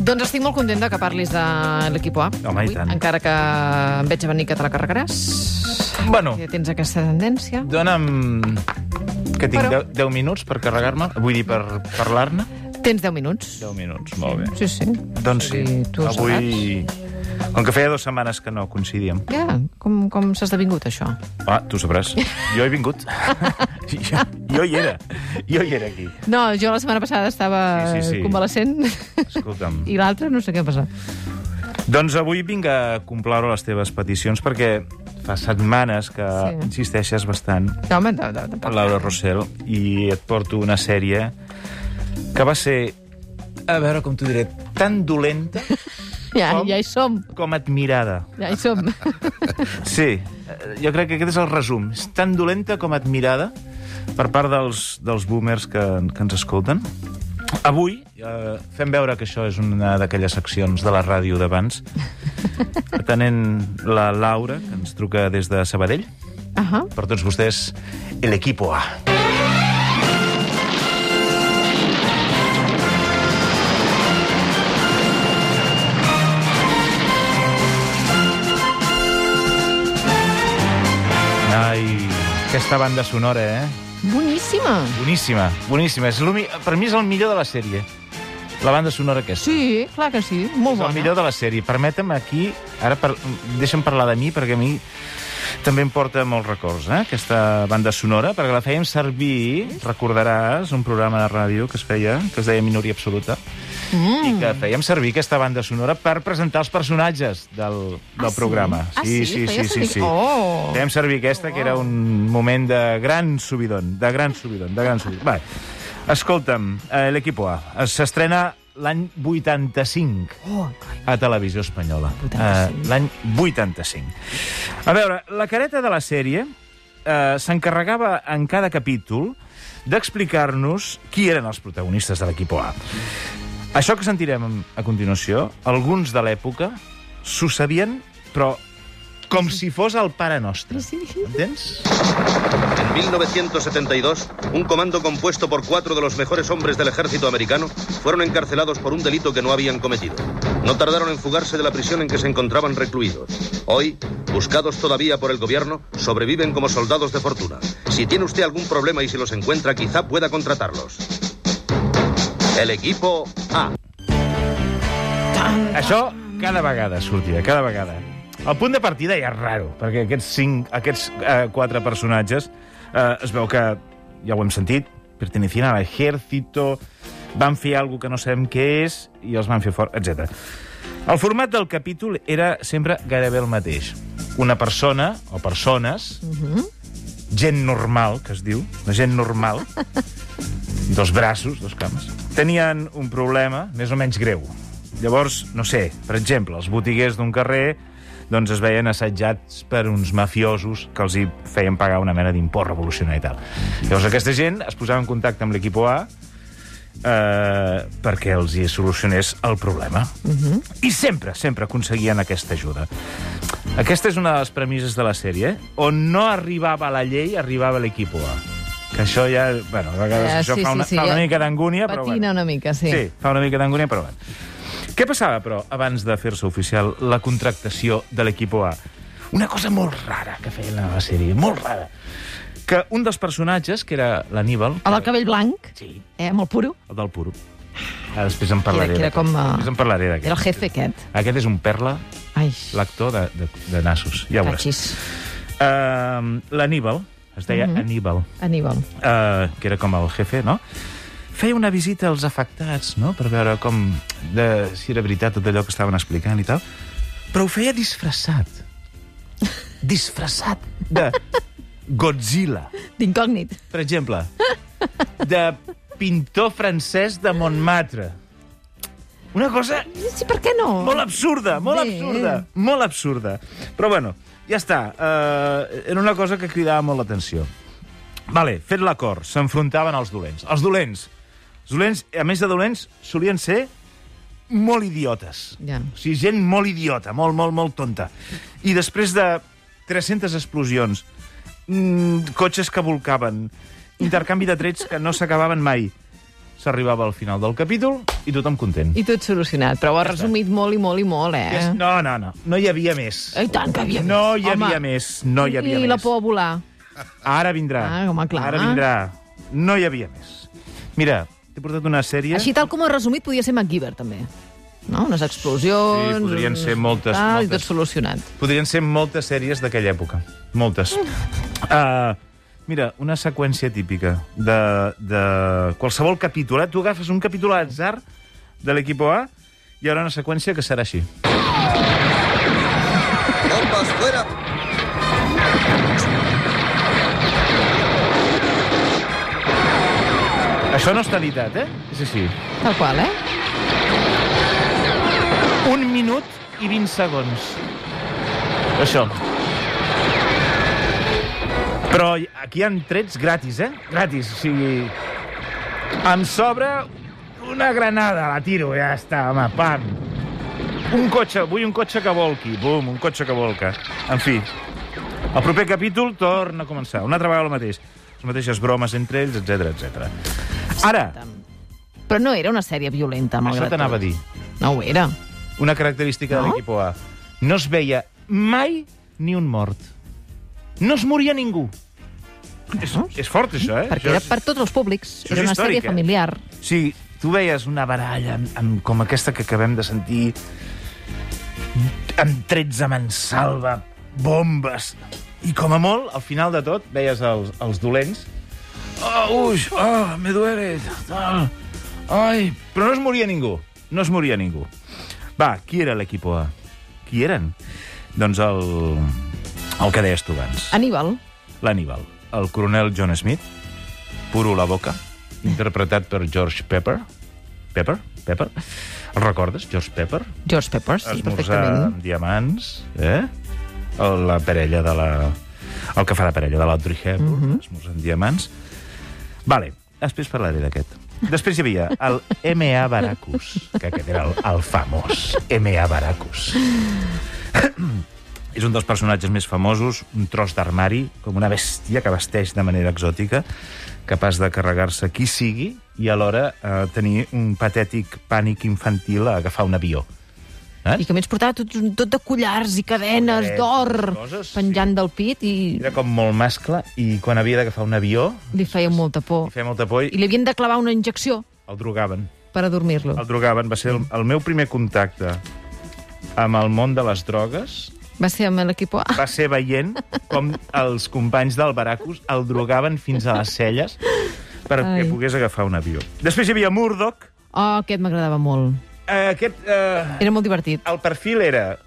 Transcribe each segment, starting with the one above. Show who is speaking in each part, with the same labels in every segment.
Speaker 1: Doncs estic molt contenta que parlis de l'equip A.
Speaker 2: Home, i
Speaker 1: avui,
Speaker 2: tant.
Speaker 1: Encara que em veig a venir que te la carregaràs.
Speaker 2: Bueno.
Speaker 1: Que tens aquesta tendència.
Speaker 2: Dóna'm... Que tinc
Speaker 1: Però-
Speaker 2: 10, 10 minuts per carregar-me, vull dir, per parlar-ne.
Speaker 1: Tens 10 minuts.
Speaker 2: 10 minuts, molt bé.
Speaker 1: Sí, sí.
Speaker 2: Doncs sí,
Speaker 1: I tu ho
Speaker 2: avui... Com que feia dues setmanes que no coincidíem.
Speaker 1: saps? Ja, com, com s'ha esdevingut això?
Speaker 2: Ah, tu sabràs. Jo he vingut. jo, jo hi era. Jo hi era aquí.
Speaker 1: No, jo la setmana passada estava
Speaker 2: Sí, sí, sí.
Speaker 1: convalescent
Speaker 2: Escolta'm.
Speaker 1: i l'altra no sé què ha passat.
Speaker 2: Doncs avui vinc a complaure les teves peticions perquè fa setmanes que
Speaker 1: Sí.
Speaker 2: sí. insisteixes bastant
Speaker 1: No, home, no, no,
Speaker 2: per
Speaker 1: tampoc.
Speaker 2: Laura Rossell i et porto una sèrie que va ser, a veure com t'ho diré, tan dolenta
Speaker 1: Ja,
Speaker 2: Com?
Speaker 1: ja hi som,
Speaker 2: com admirada.
Speaker 1: ja hi som.
Speaker 2: Sí, eh, jo crec que aquest és el resum. És tan dolenta com admirada per part dels, dels boomers que, que ens escolten. Avui eh, fem veure que això és una d'aquelles seccions de la ràdio d'abans, atenent la Laura, que ens truca des de Sabadell.
Speaker 1: Ahà.
Speaker 2: Per tots vostès, el equipo A. Ai, aquesta banda sonora, eh?
Speaker 1: Boníssima.
Speaker 2: Boníssima, boníssima. És l'únic- per mi és el millor de la sèrie. La banda sonora aquesta.
Speaker 1: Sí, clar que sí, molt
Speaker 2: És
Speaker 1: bona.
Speaker 2: el millor de la sèrie. Permetem aquí... Ara per... deixa'm parlar de mi, perquè a mi també em porta molts records, eh? aquesta banda sonora, perquè la fèiem servir, recordaràs, un programa de ràdio que es feia, que es deia Minoria Absoluta, mm. i que fèiem servir aquesta banda sonora per presentar els personatges del, del
Speaker 1: sí?
Speaker 2: programa.
Speaker 1: Ah, sí? Feia servir- Oh!
Speaker 2: Fèiem servir aquesta, que era un moment de gran subidon, de gran subidon, de gran subidon. Va, escolta'm, eh, l'equipo A eh, s'estrena l'any 85
Speaker 1: Oh, coi.
Speaker 2: a Televisió Espanyola.
Speaker 1: 85.
Speaker 2: Eh, L'any 85. A veure, la careta de la sèrie eh, s'encarregava en cada capítol d'explicar-nos qui eren els protagonistes de l'equip A. Això que sentirem a continuació, alguns de l'època s'ho sabien, però com si fos el pare nostre.
Speaker 1: Sí.
Speaker 2: Entens?
Speaker 3: En 1972, un comando compuesto por cuatro de los mejores hombres del ejército americano fueron encarcelados por un delito que no habían cometido. No tardaron en fugarse de la prisión en que se encontraban recluidos. Hoy, buscados todavía por el gobierno, sobreviven como soldados de fortuna. Si tiene usted algún problema y si los encuentra, quizá pueda contratarlos. El equipo A.
Speaker 2: Això cada vegada sortirà, cada vegada. El punt de partida ja és raro, perquè aquests cinc, aquests eh, quatre personatges eh, es veu que, ja ho hem sentit, pertenecien a l'exèrcito, van fer alguna que no sabem què és i els van fer fort, etc. El format del capítol era sempre gairebé el mateix. Una persona, o persones, gent normal, que es diu, la gent normal, dos braços, dos cames, tenien un problema més o menys greu. Llavors, no sé, per exemple, els botiguers d'un carrer doncs es veien assetjats per uns mafiosos que els hi feien pagar una mena d'import revolucionari i tal. Llavors aquesta gent es posava en contacte amb l'equip A eh, perquè els hi solucionés el problema.
Speaker 1: Mhm.
Speaker 2: I sempre, sempre aconseguien aquesta ajuda. Aquesta és una de les premisses de la sèrie, eh? on no arribava la llei, arribava l'equipo A. Que això ja... Bueno, a vegades
Speaker 1: Eh,
Speaker 2: això
Speaker 1: sí,
Speaker 2: fa una,
Speaker 1: sí, sí,
Speaker 2: fa una
Speaker 1: ja-
Speaker 2: mica d'angúnia, però...
Speaker 1: Patina
Speaker 2: Bueno.
Speaker 1: una mica, sí.
Speaker 2: Sí, fa una mica d'angúnia, però bueno. Què passava, però, abans de fer-se oficial la contractació de l'equipo A? Una cosa molt rara que feien a la sèrie, molt rara. Que un dels personatges, que era l'Aníbal...
Speaker 1: El del cabell blanc,
Speaker 2: Sí,
Speaker 1: eh, molt puro,
Speaker 2: el del puro. Ah, després en parlaré.
Speaker 1: Era- que era
Speaker 2: d'aquest.
Speaker 1: com, eh,
Speaker 2: Després en parlaré
Speaker 1: era el
Speaker 2: d'aquest.
Speaker 1: jefe aquest.
Speaker 2: Aquest és un perla,
Speaker 1: Ai,
Speaker 2: l'actor de, de, de Nassos. Ja ho veuràs.
Speaker 1: cachis.
Speaker 2: Uh, L'Aníbal, es deia
Speaker 1: Mhm.
Speaker 2: mm -hmm. Aníbal,
Speaker 1: Aníbal.
Speaker 2: eh, que era com el jefe, no? Feia una visita als afectats, no?, per veure com de, si era veritat tot allò que estaven explicant i tal, però ho feia disfressat. Disfressat de Godzilla,
Speaker 1: D'incògnit.
Speaker 2: per exemple. De pintor francès de Montmartre. Una cosa
Speaker 1: Sí, per què no?
Speaker 2: molt absurda, molt
Speaker 1: Bé.
Speaker 2: absurda, molt absurda. Però bueno, ja està. Uh, era una cosa que cridava molt l'atenció. Vale, fet l'acord, s'enfrontaven els dolents. Els dolents. Els dolents, a més de dolents, solien ser molt idiotes.
Speaker 1: Ja.
Speaker 2: O sigui, gent molt idiota, molt, molt, molt tonta. I després de 300 explosions, mm, cotxes que volcaven, intercanvi de trets que no s'acabaven mai, s'arribava al final del capítol i tothom content.
Speaker 1: I tot solucionat, però ho has resumit molt i molt i molt, eh?
Speaker 2: Yes. No, no, no. No hi havia més.
Speaker 1: I tant que hi havia
Speaker 2: No
Speaker 1: més,
Speaker 2: hi havia
Speaker 1: home.
Speaker 2: més. No hi havia
Speaker 1: I
Speaker 2: més.
Speaker 1: la por a volar.
Speaker 2: Ara vindrà.
Speaker 1: Ah, home, clar.
Speaker 2: Ara vindrà. No hi havia més. Mira, t'he portat una sèrie...
Speaker 1: Així tal com ho has resumit, podia ser MacGyver, també. No? Unes explosions...
Speaker 2: Sí, podrien ser
Speaker 1: uns-
Speaker 2: moltes,
Speaker 1: Tal, I
Speaker 2: moltes.
Speaker 1: tot solucionat.
Speaker 2: Podrien ser moltes sèries d'aquella època. Moltes. Uh, mira, una seqüència típica de, de qualsevol capítol. Eh? Tu agafes un capítol a atzar de l'equip A i hi haurà una seqüència que serà així.
Speaker 4: ¡Bombas fuera!
Speaker 2: Això no està editat, eh? És així.
Speaker 1: Tal qual, eh?
Speaker 2: Un minut i 20 segons. Això. Però aquí hi han trets gratis, eh? Gratis, o sigui... Em sobra una granada, la tiro, ja està, home, pam. Un cotxe, vull un cotxe que volqui, bum, un cotxe que volca. En fi, el proper capítol torna a començar, una altra vegada el mateix. Les mateixes bromes entre ells, etc etc. Ara,
Speaker 1: Però no era una sèrie violenta,
Speaker 2: això
Speaker 1: malgrat
Speaker 2: t'anava a dir.
Speaker 1: tot. No ho era.
Speaker 2: una característica no? de
Speaker 1: No?
Speaker 2: l'equip A. No es veia mai ni un mort. No es moria ningú. És, és fort, això, eh?
Speaker 1: Perquè
Speaker 2: això
Speaker 1: era
Speaker 2: és...
Speaker 1: per tots els públics.
Speaker 2: això és
Speaker 1: Era una
Speaker 2: històric,
Speaker 1: sèrie
Speaker 2: eh?
Speaker 1: familiar.
Speaker 2: Sí, tu veies una baralla amb, amb, com aquesta que acabem de sentir, amb trets a mansalva, bombes, i com a molt, al final de tot, veies els, els dolents. Oh, uix, oh, me duele, tal. Ai, però no es moria ningú. No es moria ningú. Va, qui era l'equip A? Qui eren? Doncs el, el que deies tu abans.
Speaker 1: Aníbal.
Speaker 2: L'Aníbal, el coronel John Smith, Puro la boca, interpretat per George Pepper. Pepper? Pepper? El recordes, George Pepper?
Speaker 1: George Peppers, sí,
Speaker 2: Esmorzar
Speaker 1: perfectament.
Speaker 2: amb diamants, eh? El- La parella de la... El que fa la parella de l'Audrey Hepburn,
Speaker 1: Mhm.
Speaker 2: mm -hmm. esmorzar amb diamants. Vale, després parlaré d'aquest. Després hi havia el M.A. Baracus, que aquest era el, el famós M.A. Baracus. És un dels personatges més famosos, un tros d'armari, com una bèstia que vesteix de manera exòtica, capaç de carregar-se qui sigui i alhora eh, tenir un patètic pànic infantil a agafar un avió.
Speaker 1: I que a més portava tot, tot de collars i cadenes
Speaker 2: Collarets,
Speaker 1: d'or
Speaker 2: coses,
Speaker 1: penjant del pit i
Speaker 2: Era com molt mascle i quan havia d'agafar un avió
Speaker 1: li feia molta por.
Speaker 2: feia molta por
Speaker 1: I
Speaker 2: i
Speaker 1: li havien de clavar una injecció
Speaker 2: el drogaven.
Speaker 1: per adormir-lo.
Speaker 2: El drogaven. Va ser el, el meu primer contacte amb el món de les drogues
Speaker 1: Va ser amb l'equip A.
Speaker 2: va ser veient com els companys del Baracus el drogaven fins a les celles perquè
Speaker 1: Ai.
Speaker 2: pogués agafar un avió. Després hi havia Murdoch.
Speaker 1: Oh, aquest m'agradava molt.
Speaker 2: Eh, aquest, eh,
Speaker 1: Era molt divertit.
Speaker 2: el perfil era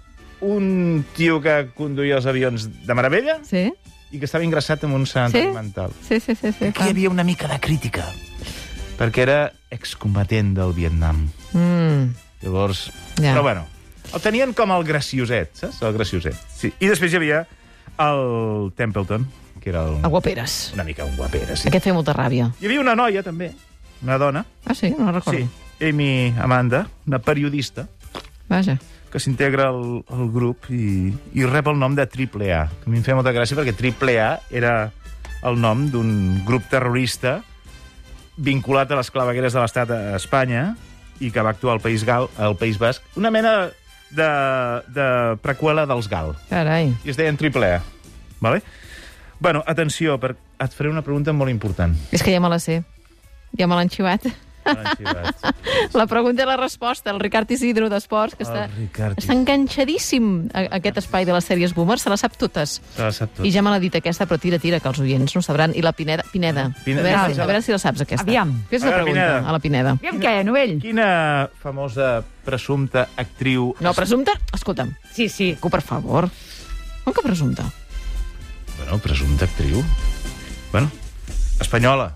Speaker 2: un tio que conduïa els avions de meravella
Speaker 1: Sí?
Speaker 2: i que estava ingressat en un
Speaker 1: Sí?
Speaker 2: sanatori mental.
Speaker 1: Sí, sí, sí.
Speaker 2: Aquí
Speaker 1: sí
Speaker 2: hi
Speaker 1: clar.
Speaker 2: havia una mica de crítica, perquè era excombatent del Vietnam.
Speaker 1: Mm,
Speaker 2: Llavors...
Speaker 1: Ja.
Speaker 2: Però bueno, el tenien com el gracioset, saps? El gracioset. Sí. I després hi havia el Templeton, que era el...
Speaker 1: a Guaperes.
Speaker 2: una mica un guapera, sí.
Speaker 1: Aquest feia molta ràbia.
Speaker 2: Hi havia una noia, també, una dona,
Speaker 1: Ah, sí? No la recordo.
Speaker 2: sí, Amy Amanda, una periodista,
Speaker 1: Vaja.
Speaker 2: que s'integra al, al grup i, i rep el nom de Triple A, que a mi em feia molta gràcia perquè Triple A era el nom d'un grup terrorista vinculat a les clavegueres de l'estat a Espanya i que va actuar al País Gal, al País Basc, una mena de, de preqüela dels Gal.
Speaker 1: Carai.
Speaker 2: I es deien Triple A. Vale? Bueno, atenció, per, et faré una pregunta molt important.
Speaker 1: És que ja me la sé. Ja me l'han xivat.
Speaker 2: Ara, xivat.
Speaker 1: La pregunta i la resposta. El Ricard Isidro d'Esports, que
Speaker 2: El
Speaker 1: està,
Speaker 2: Ricard
Speaker 1: està enganxadíssim a, a aquest espai de les sèries Boomer, se la sap totes.
Speaker 2: Se la sap tot.
Speaker 1: I ja me l'ha dit aquesta, però tira, tira, que els oients no sabran. I la Pineda... Pineda.
Speaker 2: Pineda,
Speaker 1: a, veure,
Speaker 2: ja
Speaker 1: si,
Speaker 2: la-
Speaker 1: a veure si la saps, aquesta.
Speaker 5: Aviam.
Speaker 1: Fes la
Speaker 2: A veure,
Speaker 1: pregunta
Speaker 2: Pineda.
Speaker 1: a la Pineda.
Speaker 5: Aviam què, Novell?
Speaker 2: Quina famosa presumpta actriu...
Speaker 1: No, presumpte? Escolta'm,
Speaker 5: Sí, sí.
Speaker 1: cu, per favor. Com que presumpte?
Speaker 2: Bueno, presumpta actriu. Bueno, espanyola.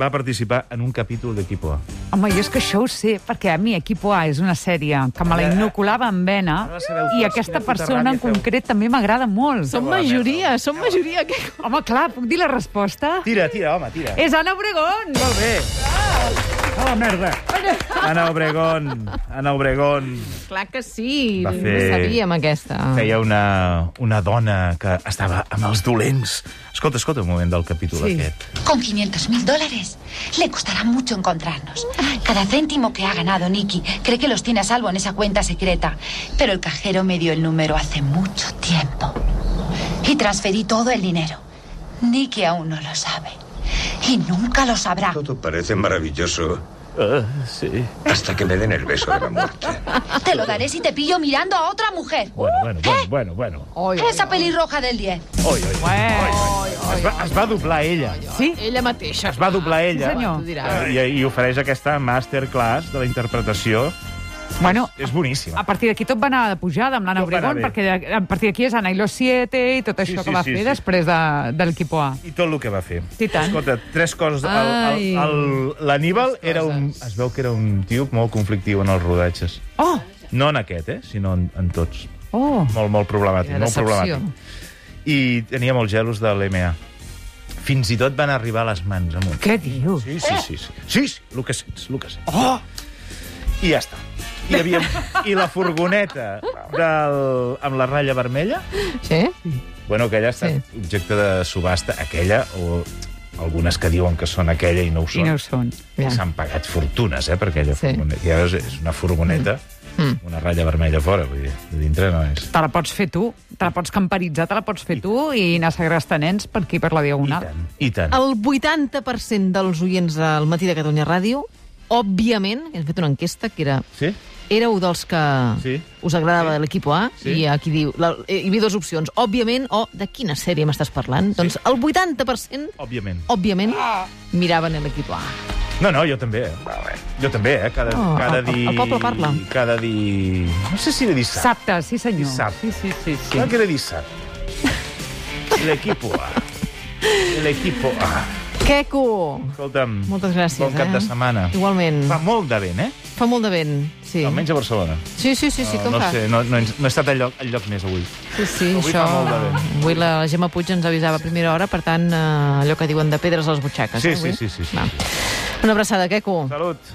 Speaker 2: va participar en un capítol d'Equipo A.
Speaker 5: Home, jo és que això ho sé, perquè a mi Equipo A és una sèrie que me la inoculava en vena
Speaker 2: Ara sabeu
Speaker 5: i
Speaker 2: tots quina
Speaker 5: aquesta
Speaker 2: puta
Speaker 5: persona
Speaker 2: ràbia
Speaker 5: en
Speaker 2: feu.
Speaker 5: concret també m'agrada molt.
Speaker 1: Som majoria, som majoria. Que...
Speaker 5: Home, clar, puc dir la resposta?
Speaker 2: Tira, tira, home, tira.
Speaker 5: És Anna Obregón!
Speaker 2: Molt bé. A la merda. Ana Obregón, Ana Obregón.
Speaker 1: Clar que sí,
Speaker 2: Va
Speaker 1: no
Speaker 2: fer-
Speaker 1: sabíem aquesta.
Speaker 2: Feia una, una dona que estava amb els dolents. Escolta, escolta un moment del capítol
Speaker 1: Sí.
Speaker 2: aquest.
Speaker 6: Con 500 mil dólares le costará mucho encontrarnos. Cada céntimo que ha ganado Nicky cree que los tiene a salvo en esa cuenta secreta. Pero el cajero me dio el número hace mucho tiempo. Y transferí todo el dinero. Nicky aún no lo sabe. Y nunca lo sabrá.
Speaker 4: Todo parece maravilloso
Speaker 2: sí.
Speaker 4: hasta que me den el beso de la muerte.
Speaker 6: Te lo daré si te pillo mirando a otra mujer.
Speaker 2: Bueno, bueno, bueno, bueno. bueno.
Speaker 1: Oi, oi,
Speaker 6: Esa pelirroja del 10.
Speaker 2: Oi, oi, oi, oi, oi. Es va, es va doblar ella.
Speaker 5: Sí?
Speaker 1: Ella mateixa.
Speaker 2: Es va doblar ella.
Speaker 5: senyor.
Speaker 1: Tu diràs.
Speaker 2: I, I ofereix aquesta masterclass de la interpretació.
Speaker 5: Bueno,
Speaker 2: És boníssima.
Speaker 5: a partir d'aquí tot va anar de pujada amb l'Anna
Speaker 2: Tot va anar
Speaker 5: Obregón,
Speaker 2: bé.
Speaker 5: perquè de- a partir d'aquí és Anna i los siete i tot
Speaker 2: Sí,
Speaker 5: això
Speaker 2: sí,
Speaker 5: que va
Speaker 2: sí,
Speaker 5: fer
Speaker 2: sí.
Speaker 5: després de, del Quipo A.
Speaker 2: I tot el que va fer.
Speaker 5: I tant.
Speaker 2: Escolta, tres coses. El- el-
Speaker 1: Ai.
Speaker 2: el- L'Aníbal
Speaker 1: Tres
Speaker 2: era un...
Speaker 1: coses.
Speaker 2: Es veu que era un tio molt conflictiu en els rodatges.
Speaker 5: Oh!
Speaker 2: No en aquest, eh? Sinó en, en tots.
Speaker 5: Oh!
Speaker 2: Molt, molt problemàtic.
Speaker 1: Quina
Speaker 2: Molt
Speaker 1: decepció.
Speaker 2: problemàtic. i tenia molts gelos de l'EMA. Fins i tot van arribar a les mans amunt.
Speaker 5: Què dius?
Speaker 2: Sí, sí, sí. Sí, sí, sí el que sents, el que sents. Oh! I ja està. I, hi havia... I la furgoneta del... amb la ratlla vermella,
Speaker 1: Sí?
Speaker 2: bueno, aquella ha estat
Speaker 1: Sí.
Speaker 2: sí. objecte de subhasta, aquella o algunes que diuen que són aquella i no ho
Speaker 5: I
Speaker 2: són.
Speaker 5: no ho són.
Speaker 1: Ja.
Speaker 2: S'han pagat fortunes, eh, per aquella
Speaker 1: Sí.
Speaker 2: sí. furgoneta. I llavors és una furgoneta, mm. una ratlla vermella fora, vull dir, de dintre no és.
Speaker 5: Te la pots fer tu, te la pots camperitzar, te la pots fer tu i anar a segrestar nens per aquí per la
Speaker 2: I
Speaker 5: Diagonal.
Speaker 2: tant, i tant.
Speaker 1: El 80% dels oients del Matí de Catalunya Ràdio, òbviament, hem fet una enquesta que era
Speaker 2: Sí?
Speaker 1: éreu dels que sí.
Speaker 2: Sí.
Speaker 1: us agradava sí. l'equip A
Speaker 2: Sí.
Speaker 1: sí. i aquí diu, la, eh, hi havia dues opcions, òbviament o de quina sèrie m'estàs parlant? Sí. Doncs el 80%
Speaker 2: Òbviament.
Speaker 1: òbviament miraven l'equip A.
Speaker 2: No, no, jo també. eh? Jo també, eh? Cada,
Speaker 1: Oh,
Speaker 2: cada
Speaker 1: el-
Speaker 2: di...
Speaker 1: el poble parla.
Speaker 2: Cada di... No sé si era dissabte.
Speaker 5: Dissabte, sí senyor.
Speaker 2: Dissabte. Doncs
Speaker 5: Sí, sí, sí. sí.
Speaker 2: Clar que era dissabte. L'equipo A. L'equipo A.
Speaker 1: Queco!
Speaker 2: Escolta'm,
Speaker 1: Moltes gràcies,
Speaker 2: bon cap
Speaker 1: eh?
Speaker 2: de setmana.
Speaker 1: Igualment.
Speaker 2: Fa molt de vent, eh?
Speaker 1: Fa molt de vent, sí.
Speaker 2: Almenys a Barcelona.
Speaker 1: Sí, sí, sí, sí, com
Speaker 2: no, no
Speaker 1: fa?
Speaker 2: sé, no, no, he, no he estat al lloc, al lloc més avui.
Speaker 1: Sí, sí,
Speaker 2: Avui
Speaker 1: això...
Speaker 2: fa molt de vent.
Speaker 1: Avui la Gemma Puig ens avisava a primera hora, per tant, eh, allò que diuen de pedres a les butxaques.
Speaker 2: Sí,
Speaker 1: eh, avui?
Speaker 2: sí, sí, sí, sí.
Speaker 1: Va. Una abraçada, Queco.
Speaker 2: Salut.